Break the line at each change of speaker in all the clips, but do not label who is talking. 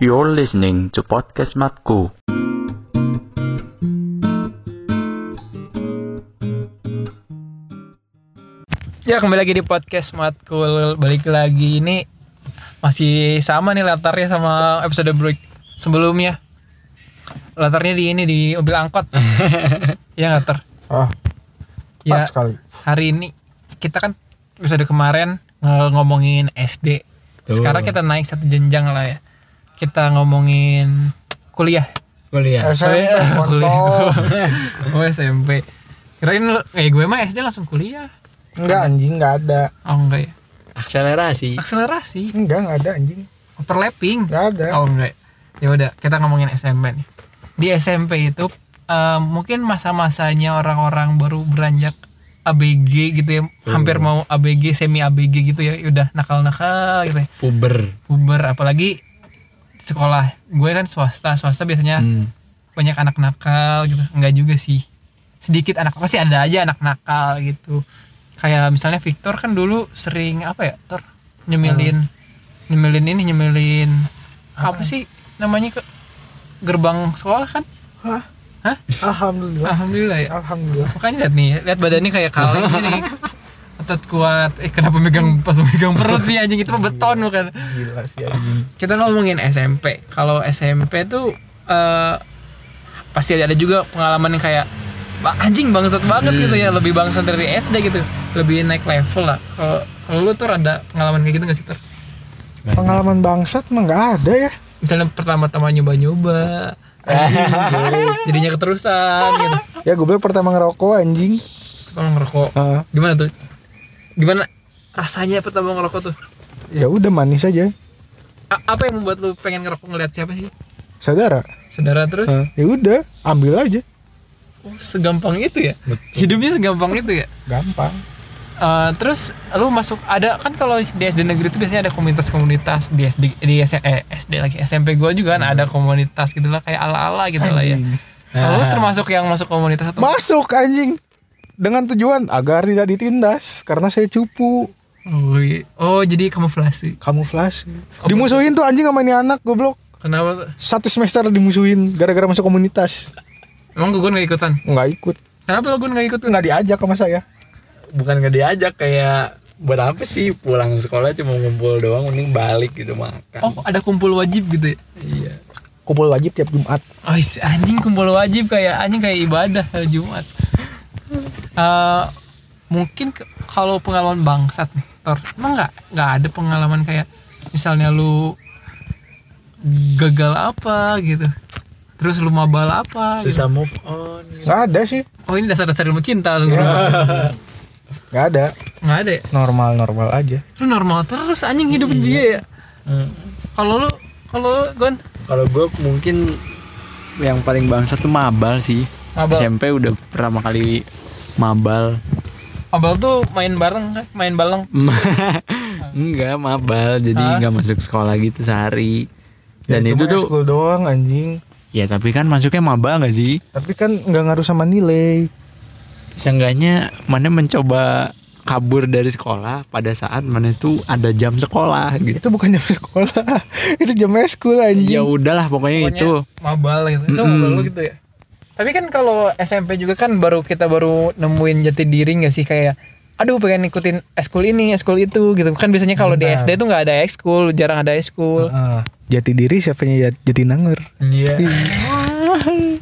You're listening to podcast Matku.
Ya kembali lagi di podcast Matkul Balik lagi ini Masih sama nih latarnya sama episode break sebelumnya Latarnya di ini di mobil angkot Ya nggak ter
Ah,
Ya
pas sekali.
hari ini kita kan episode kemarin nge- ngomongin SD Sekarang kita naik satu jenjang lah ya Kita ngomongin kuliah
kuliah
Kuliah.
SMP, Eh, kontol.
Oh SMP Kirain lu, eh gue mah SD langsung kuliah
Enggak anjing, enggak ada.
Oh enggak ya
akselerasi
Akselerasi
Enggak, enggak ada anjing.
Overlapping
Enggak ada.
Oh enggak. Ya udah, kita ngomongin SMP nih. Di SMP itu eh, mungkin masa-masanya orang-orang baru beranjak ABG gitu ya, hampir mau ABG, semi ABG gitu ya, udah nakal-nakal gitu ya.
puber
Uber apalagi sekolah. Gue kan swasta, swasta biasanya banyak anak nakal gitu. Enggak juga sih. Sedikit anak pasti ada aja anak nakal gitu. Kayak misalnya Victor kan dulu sering apa ya, Tor? Nyemilin nyemilin ini nyemilin apa, sih namanya ke gerbang sekolah kan?
Hah?
Hah?
Alhamdulillah.
Alhamdulillah ya.
Alhamdulillah.
Makanya lihat nih, lihat badannya kayak kaleng gini. Otot kuat. Eh kenapa megang pas megang perut sih anjing itu mah beton bukan?
Gila sih anjing.
kita ngomongin SMP kalau SMP tuh eh, pasti ada juga pengalaman yang kayak "Wah, anjing bangsat banget gitu ya lebih bangsat dari SD gitu lebih naik level lah kalau kalau lu tuh ada pengalaman kayak gitu gak sih ter
Pengalaman bangsat mah enggak ada ya.
misalnya pertama-tama nyoba-nyoba anjing, jadinya keterusan gitu
Ya gue pertama ngerokok anjing.
pertama ngerokok
Ah,
gimana tuh gimana rasanya pertama ngerokok tuh
ya udah manis aja.
A- apa yang membuat lu pengen ngerokok ngeliat siapa sih
Saudara.
saudara terus
Ah, ya udah, ambil aja.
oh, segampang itu ya hidupnya segampang itu ya
Gampang.
Eh, terus lu masuk ada kan kalau di SD negeri itu biasanya ada komunitas-komunitas di SD di S- eh, SD lagi SMP gua juga kan ada komunitas gitu lah kayak ala-ala gitu lah ya.
Hmm. Anjing. Ah.
Lalu termasuk yang masuk komunitas atau
Masuk anjing. Dengan tujuan agar tidak ditindas karena saya cupu
oh, iya. Oh, jadi kamuflase.
kamuflase. Dimusuhin tuh anjing sama ini anak goblok.
Kenapa? tuh?
Satu semester dimusuhin gara-gara masuk komunitas.
Emang Gugun gak ikutan?
Nggak ikut.
Kenapa lo Gun gak ikut? Gun?
nggak diajak sama saya
bukan nggak diajak kayak buat apa sih pulang sekolah cuma ngumpul doang mending balik gitu makan
Oh, ada kumpul wajib gitu ya.
iya
kumpul wajib tiap Jumat
Oh, is- anjing kumpul wajib kayak anjing kayak ibadah hari Jumat. Eh, mungkin ke- kalau pengalaman bangsat nih, Tor. Emang nggak nggak ada pengalaman kayak misalnya lu gagal apa gitu. Terus lu mabal apa gitu.
susah move on
nggak ada sih
Oh, ini dasar-dasar ilmu cinta lu.
nggak ada
Nggak ada ya?
normal normal aja
Lu normal terus anjing hidup dia ya. Kalau lu kalau lu, Gon
kalau gue mungkin yang paling bangsat tuh mabal sih
Mabal.
SMP udah pertama kali mabal
mabal tuh main bareng kan, main baleng.
enggak mabal
Hah?
jadi nggak masuk sekolah gitu sehari dan itu
Ya, mah
tuh
eskul doang anjing
ya tapi kan masuknya mabal nggak sih
tapi kan nggak ngaruh sama nilai
seenggaknya mana mencoba kabur dari sekolah pada saat mana itu ada jam sekolah gitu
itu bukan jam sekolah itu jam eskul
ya
anjing
udahlah pokoknya,
Pokoknya
itu
mabal gitu itu
Mm-mm.
mabal lu gitu ya tapi kan kalau SMP juga kan baru kita baru nemuin jati diri nggak sih kayak aduh pengen ngikutin eskul ini eskul itu gitu kan biasanya kalau di SD tuh nggak ada eskul jarang ada eskul
Ah, jati diri siapanya jat- jati nangor Iya.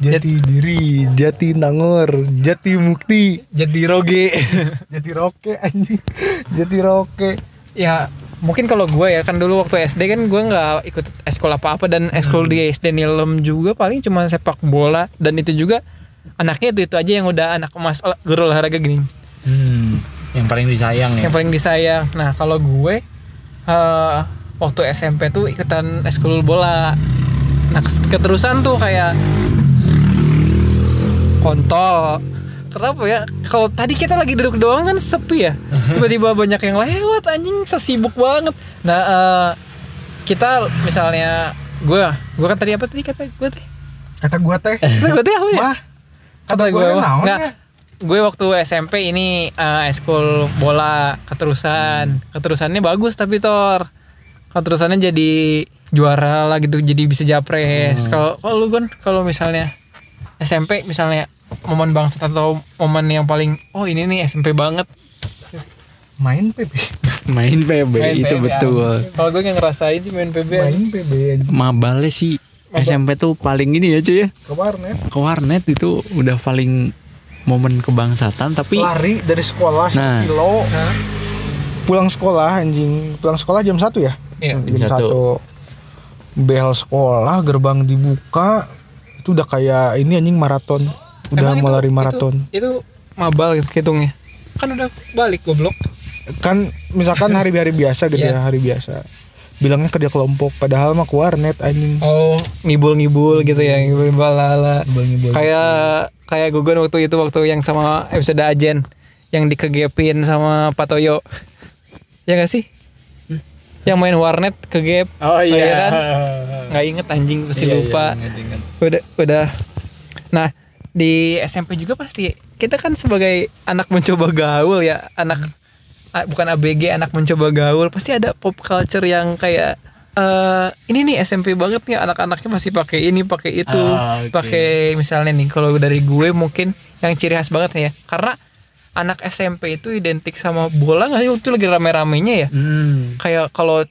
jati diri jati nangor jati mukti
jadi roge
jati roke anjing jati roke
ya mungkin kalau gue ya kan dulu waktu SD kan gue nggak ikut eskul apa apa dan eskul di SD Nilem juga paling cuma sepak bola dan itu juga anaknya itu itu aja yang udah anak emas olah- guru olahraga gini
Hmm, yang paling disayang ya.
yang paling disayang. Nah kalau gue eh, waktu SMP tuh ikutan eskul bola. Nah kes- keterusan tuh kayak kontol. Kenapa ya? Kalau tadi kita lagi duduk doang kan sepi ya. Tiba-tiba banyak yang lewat anjing, so sibuk banget. Nah eh, kita misalnya gue, gue kan tadi apa tadi kata gue teh?
kata gua teh
Kata gue teh apa ya?
mah
kata
Kata
gue
gue naon
nggak.
ya?
gue waktu SMP ini eh, eskul bola keterusan keterusannya bagus tapi tor keterusannya jadi juara lah gitu jadi bisa
Hmm.
japres kalau kalau lu kan kalau misalnya SMP misalnya momen bangsa atau momen yang paling oh ini nih SMP banget
main PB
main PB
main ya.
itu
PB.
betul
kalau gue nggak ngerasain sih main PB
main PB aja.
mabalnya sih SMP tuh paling ini ya cuy ya
ke warnet
ke warnet itu udah paling momen kebangsatan tapi
lari dari sekolah
Nah.
1 kilo
Hah?
pulang sekolah anjing pulang sekolah jam 1 ya
Iya.
Jam satu.
bel sekolah gerbang dibuka itu udah kayak ini anjing maraton udah
Emang
mau
itu-
lari
itu-
maraton
itu, mabal gitu hitungnya kan udah balik goblok
kan misalkan hari-hari biasa gitu
Iya.
ya hari biasa bilangnya kerja kelompok padahal mah ke warnet anjing
oh ngibul-ngibul gitu ya ngibul-ngibul lala kayak kayak gugun waktu itu waktu yang sama episode Ajen yang dikegepin sama Patoyo ya gak sih yang main warnet kegep
Hmm. Oh, iya.
kan nggak inget anjing pasti lupa udah udah nah di SMP juga pasti kita kan sebagai anak mencoba gaul ya anak a- bukan ABG anak mencoba gaul pasti ada pop culture yang kayak eh ini nih SMP banget nih anak-anaknya masih pakai ini pakai itu
Ah, oke.
pakai misalnya nih kalau dari gue mungkin yang ciri khas banget nih ya karena anak SMP itu identik sama bola nggak sih waktu itu lagi rame-ramenya ya
Hmm.
kayak kalau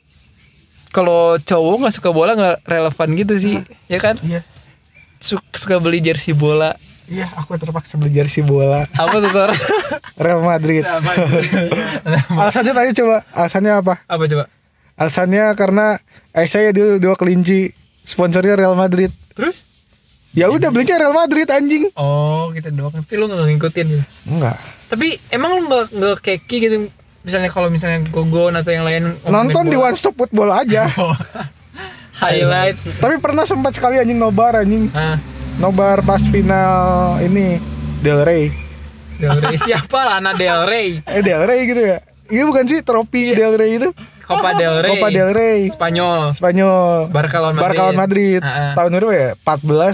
kalau cowok nggak suka bola nggak relevan gitu sih
Ah.
ya kan
iya
Su- suka beli jersey bola
iya aku terpaksa beli jersey bola
apa tuh Tor?
Real Madrid
iya.
alasannya tadi coba alasannya apa
apa coba
alasannya karena eh saya dulu dua kelinci sponsornya Real Madrid
terus
ya udah belinya Real Madrid anjing
oh kita doang tapi lu nggak ngikutin gitu.
enggak
tapi emang lu nggak nggak keki gitu misalnya kalau misalnya gogon atau yang lain ngomongin
nonton di
bola.
One Stop Football aja
Oh. highlight
tapi pernah sempat sekali anjing nobar anjing
ah
nobar pas final ini Del Rey
Del Rey siapa Lana Del Rey
eh Del Rey gitu ya iya bukan sih trofi Del Rey itu
Copa Iya. Del Rey
Copa Del Rey
Spanyol
Spanyol
Barca lawan Madrid.
Barca lawan Madrid.
Ah, ah.
tahun berapa ya 14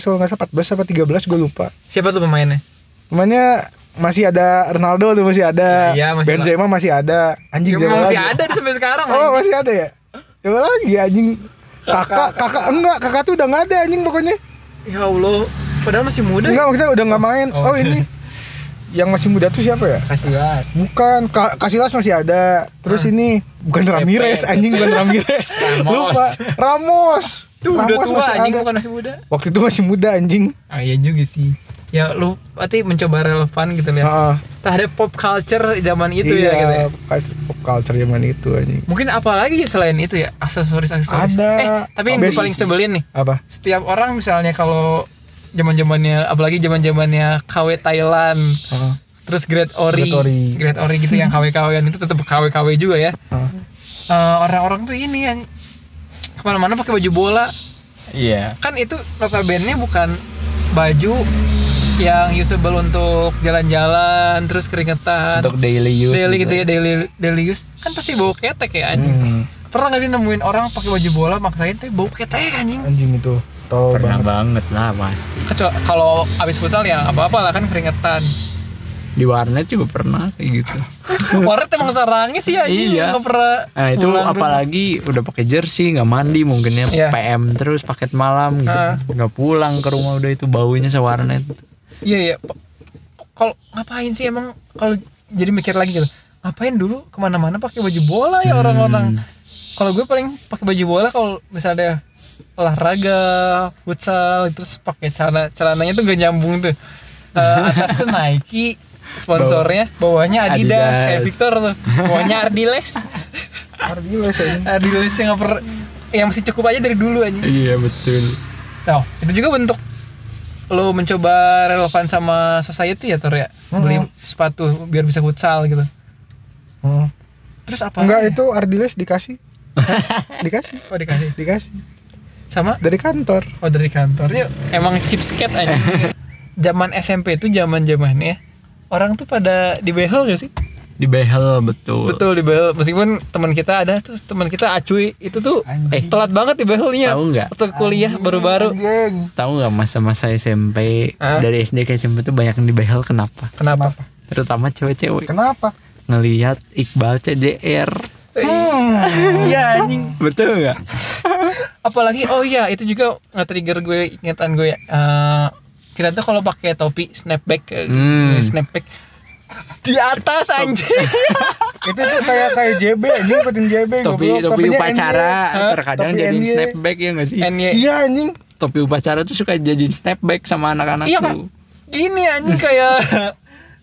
kalau nggak salah 14 apa 13 gue lupa
siapa tuh pemainnya
Namanya masih ada Ronaldo tuh masih ada.
Ya, iya, masih
Benzema masih ada. Anjing
Ya,
siapa
emang masih
lagi?
ada sampai sekarang
Oh,
anjing.
masih ada ya? Siapa lagi anjing? Kakak, kakak enggak, kakak tuh udah nggak ada anjing pokoknya.
ya Allah padahal masih muda
Enggak, maksudnya udah nggak main.
Oh.
Oh, ini yang masih muda tuh siapa ya?
kasih gas
Bukan, Ka Kasilas masih ada. Terus ini bukan Ramirez,
Ah. Pepe.
anjing bukan Ramirez.
Ramos.
Lupa. Ramos.
tuh udah
Ramos
tua
masih
anjing
ada.
bukan masih muda
Waktu itu masih muda anjing.
ah iya juga sih ya lu berarti mencoba relevan gitu ya
Heeh.
terhadap pop culture zaman itu
Ah. iya,
ya gitu ya
pas pop culture zaman itu anjing.
mungkin apalagi ya selain itu ya aksesoris aksesoris
Ada.
eh tapi yang gue
Obes-
paling sebelin nih
Apa?
setiap orang misalnya kalau zaman zamannya apalagi zaman zamannya KW Thailand
Heeh.
terus Great Ori
Ah. Great Ori.
Great Ori gitu yang KW KW itu tetap KW KW juga ya
Heeh.
Eh, orang-orang tuh ini yang kemana-mana pakai baju bola
Iya.
kan itu notabene bukan baju yang usable untuk jalan-jalan terus keringetan
Untuk daily use.
Kan daily gitu ya daily daily use kan pasti bau ketek ya anjing
Hmm.
pernah nggak sih nemuin orang pakai baju bola maksain tapi bau ketek anjing
anjing itu tol
Pernah
banget
banget lah pasti.
Kecuali kalau abis futsal ya apa apa lah kan keringetan
Di warnet juga pernah kayak gitu.
warnet emang sarangnya sih anjing
Iya.
nggak pernah
Nah itu
pulang.
apalagi udah pakai jersey nggak mandi mungkinnya
Iya.
PM terus paket malam gitu
Ah.
nggak pulang ke rumah udah itu baunya sewarnet
Iya iya. Pa- Kalau ngapain sih emang kalau jadi mikir lagi gitu. Ngapain dulu kemana-mana pakai baju bola ya orang-orang. Kalau gue paling pakai baju bola kalau misalnya olahraga, futsal, terus pakai celana celananya tuh gak nyambung tuh. Eh, atas tuh Nike, sponsornya, bawahnya Adidas,
Adidas.
kayak Victor tuh. Bawahnya Ardiles.
Ardiles anjing
Ardiles yang nggak per- yang masih cukup aja dari dulu aja.
iya betul
Nah, itu juga bentuk lo mencoba relevan sama society ya Tor ya beli sepatu biar bisa futsal gitu
Hmm.
terus apa
enggak
lagi?
itu Ardiles dikasih dikasih
oh dikasih
dikasih
sama
dari kantor
oh dari kantor yuk emang chipsket aja zaman SMP itu zaman zamannya orang tuh pada dibehel gak sih
di behel betul,
betul dibehel meskipun teman kita ada tuh teman kita acuy itu tuh eh,
Anjing.
telat banget dibehelnya
Tahu nggak?
atau kuliah baru-baru
tahu nggak masa-masa SMP
Ah.
dari SD ke SMP tuh banyak yang di behel kenapa
kenapa
terutama cewek-cewek
kenapa
ngelihat Iqbal CJR
iya anjing
betul nggak
apalagi oh iya itu juga nge-trigger gue ingatan gue eh, kita tuh kalau pakai topi snapback eh,
Hmm.
snapback di atas anjing
itu tuh kayak kayak JB anjing ikutin JB
topi
Iya, goblok.
topi
Topinya
upacara Eh,
NY.
terkadang
Topi
jadi
NY.
snapback ya nggak sih
NY
iya anjing
topi upacara tuh suka jadi snapback sama anak-anak
Iya,
tuh
gini anjing kayak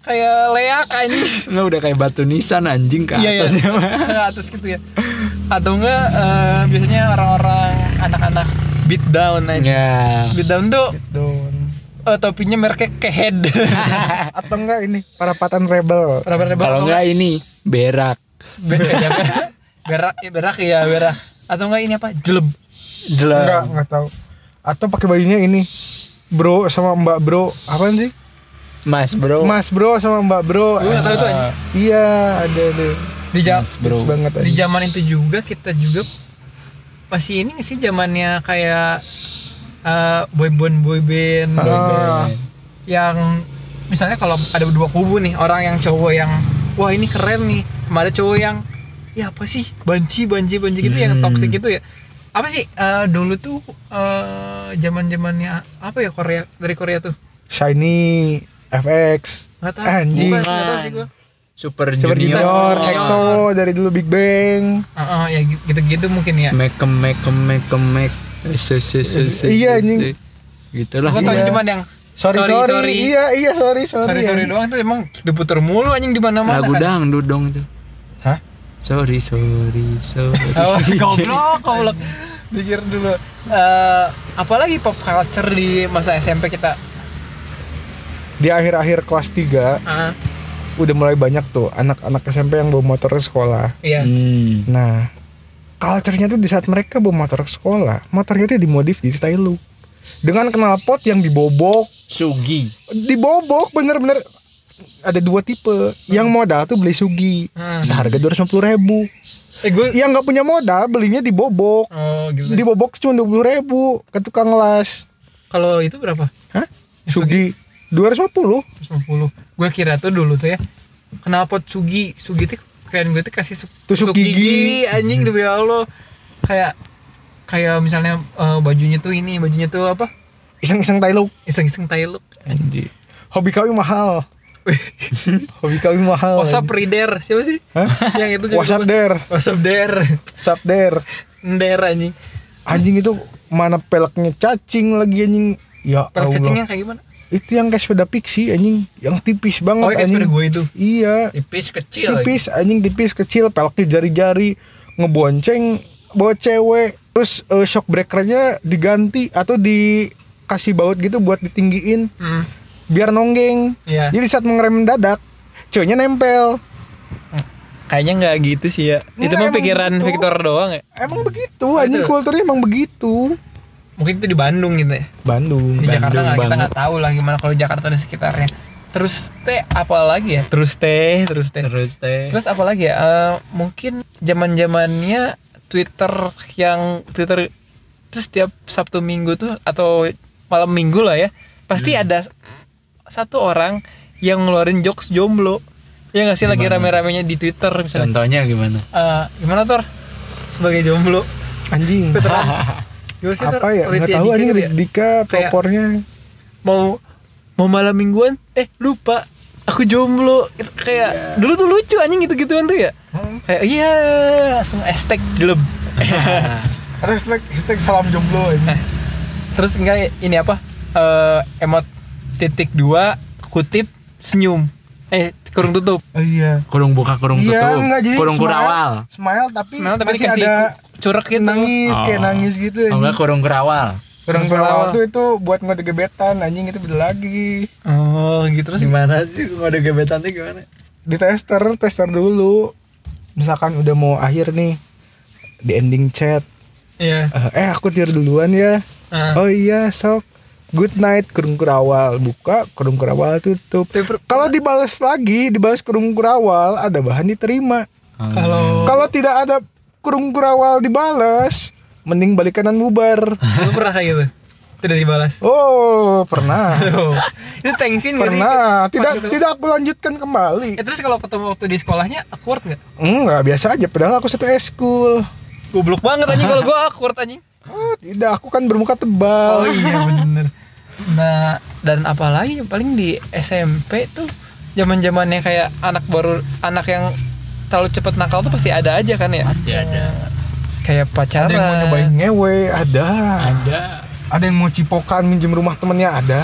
kayak leak anjing
nggak udah kayak batu nisan anjing ke
iya iya
atas
ke atas gitu ya atau enggak eh, biasanya orang-orang anak-anak beat down aja
ya
beat down tuh
Down.
eh, topinya mereknya kehead
atau enggak ini parapatan rebel
kalau nggak ini berak
Be- ya, ber- berak ya berak ya berak atau enggak ini apa jeleb
enggak
jelas
enggak tahu atau pakai bajunya ini bro sama mbak bro apaan sih
mas bro
mas bro sama mbak bro
Gua nggak tahu itu,
Ah,
anjing.
iya ada ada
di ja-
Mas bro
Hits banget
di
anjing.
zaman itu juga kita juga masih ini nggak sih zamannya kayak eh, boyband boyband
Ah.
yang misalnya kalau ada dua kubu nih orang yang cowok yang wah ini keren nih sama ada cowok yang ya apa sih banci banci banci gitu yang
Hmm.
toxic gitu ya apa sih eh, dulu tuh zaman zamannya apa ya Korea dari Korea tuh
shiny FX
nggak tahu
Anjing.
Bukan, nggak tahu sih gua.
super
Super Junior,
junior
EXO dari dulu Big Bang.
Ah, ah, ya gitu gitu mungkin ya
mekem mekem mekem mek se se se se
Iya, anjing.
gitulah
gua
tahu
taunya
Iya.
cuman yang
Sorry sorry, iya iya sorry sorry.
sorry sorry
anjing.
doang tuh emang diputer mulu anjing di kan. mana mana
lagu dangdut dong itu
Hah?
sorry sorry sorry
Oh, goblok, goblok. Pikir dulu. Eh, apalagi pop culture di masa SMP kita.
Di akhir-akhir kelas 3
Ah,
udah mulai banyak tuh anak-anak SMP yang bawa motor ke sekolah.
iya.
Hmm.
Nah, culture-nya tuh di saat mereka bawa motor ke sekolah, motornya tuh dimodif jadi tai lu. Dengan knalpot yang dibobok,
Sugi
dibobok bener-bener ada dua tipe. Yang modal tuh beli sugi
Hmm.
seharga 250 ribu.
Eh, gue
Yang nggak punya modal belinya dibobok.
Oh, gitu.
Dibobok cuma 20 ribu ke tukang las.
Kalau itu berapa?
Hah? Sugi 250
150. Gue kira tuh dulu tuh ya. Kenapa Sugi? Sugi tuh keren gue tuh kasih su-
Tusuk gigi. Hmm.
anjing demi Allah. Kayak kayak misalnya eh, bajunya tuh ini, bajunya tuh apa?
Iseng-iseng tai lu
Iseng-iseng tai look.
Anjir Hobi kami mahal Hobi kami mahal
WhatsApp reader siapa sih?
Hah?
Yang itu juga
WhatsApp der
WhatsApp dare.
WhatsApp der
Nder anjing.
Anjing itu Mana peleknya cacing lagi anjing Ya
Pelek
Allah
cacingnya kayak gimana?
Itu yang kayak sepeda pixie anjing Yang tipis banget
Oh, kayak
anjing
sepeda gue itu.
Iya
Tipis kecil.
Tipis anjing tipis kecil Peleknya jari-jari Ngebonceng Bawa cewek Terus eh, shock breakernya diganti Atau dikasih baut gitu buat ditinggiin
Hmm.
biar nonggeng.
Iya.
Jadi saat mengerem mendadak, ceweknya nempel.
Kayaknya nggak gitu sih ya. itu
Nggak,
mah
emang
pikiran
gitu.
Victor doang ya.
Emang begitu, anjing
Betul.
kulturnya emang begitu.
Mungkin itu di Bandung gitu ya.
Bandung.
Di Jakarta nggak kita
banget.
nggak tahu lah gimana kalau Jakarta dan sekitarnya. Terus teh apa lagi ya? Terus teh, terus teh.
terus teh
Terus apa lagi ya? Eh, mungkin zaman zamannya Twitter yang Twitter terus setiap Sabtu Minggu tuh atau malam Minggu lah ya pasti ada satu orang yang ngeluarin jokes jomblo ya nggak sih lagi rame-ramenya di Twitter misalnya
contohnya gimana
Eh, gimana Tor? Sebagai jomblo
Anjing.
Gimana sih, Tor?
Apa ya?
Waktu itu
Enggak tahu
Dika
anjing
gitu ya?
Dika pelopornya.
Mau Mau malam mingguan Eh lupa Aku jomblo Itu
Iya.
Kayak Dulu tuh lucu anjing gitu-gituan tuh ya
Hmm.
Kayak iya Langsung hashtag jelem
Hashtag, hashtag salam jomblo anjing.
Terus enggak ini apa Eh Emot titik dua Kutip Senyum Eh kurung tutup
Oh, iya.
kurung buka kurung
Iya,
tutup
enggak jadi
kurung
smile-
kurawal
Smile tapi
Sebenarnya tapi
masih
dikasih
ada
curek gitu
nangis kayak
Oh.
nangis gitu
oh, enggak
anjing.
kurung kurawal
Kurang
Kurang
kurawal
kurawal.
tuh itu buat ngode gebetan anjing itu beda lagi.
Oh gitu terus
gimana sih ada gebetannya gimana
di tester tester dulu misalkan udah mau akhir nih di ending chat
Iya
eh, eh aku tidur duluan ya
Ah.
oh iya sok good night kurung kurawal buka kurung kurawal tutup
Tapi-
kalau dibales lagi dibales kurung kurawal ada bahan diterima
Kalau
Hmm. kalau tidak ada kurung kurawal dibales mending balik kanan bubar
Lu pernah kayak gitu? Tidak dibalas.
oh pernah
Tuh. itu tensin gak sih?
pernah
Pas gitu.
tidak
ketemu-
tidak aku lanjutkan kembali
Eh, terus kalau ketemu waktu di sekolahnya awkward nggak?
enggak biasa aja padahal aku satu eskul
Goblok banget anjing kalau gua awkward anjing.
Ah, tidak, aku kan bermuka
Oh
tebal.
iya bener. Nah dan apalagi paling di SMP tuh zaman zamannya kayak anak baru anak yang terlalu cepet nakal tuh pasti ada aja kan ya.
pasti ada
Kayak pacaran.
Ada yang mau nyobain ngewe, ada.
ada
Ada yang mau cipokan minjem rumah temennya, ada.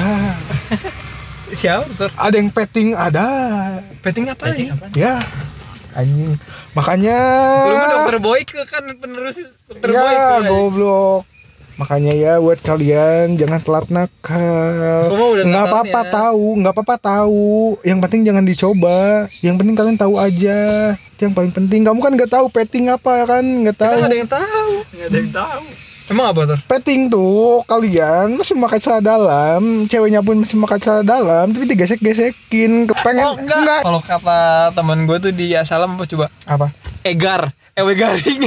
Siapa tuh?
Ada yang petting, ada.
Petting apa nih?
Ya, anjing. Makanya.
Lu kan dokter Boyke kan penerus dokter Boyke.
Ya,
kan?
goblok. Makanya ya buat kalian jangan telat nakal.
Gua mah udah
Nggak
nakal
apa-apa
nih ya.
tahu, nggak apa-apa tahu. Yang penting jangan dicoba. Yang penting kalian tahu aja. Itu yang paling penting. Kamu kan nggak tahu petting apa kan? Nggak
Kita
tahu.
nggak ada yang tahu.
nggak ada yang tahu
Emang apa tuh?
Petting tuh kalian masih pakai celana dalam, ceweknya pun masih pakai celana dalam, tapi digesek-gesekin, kepengen
Oh enggak. Kalau kata teman gue tuh di Asalam apa coba?
Apa?
Egar, ewe garing.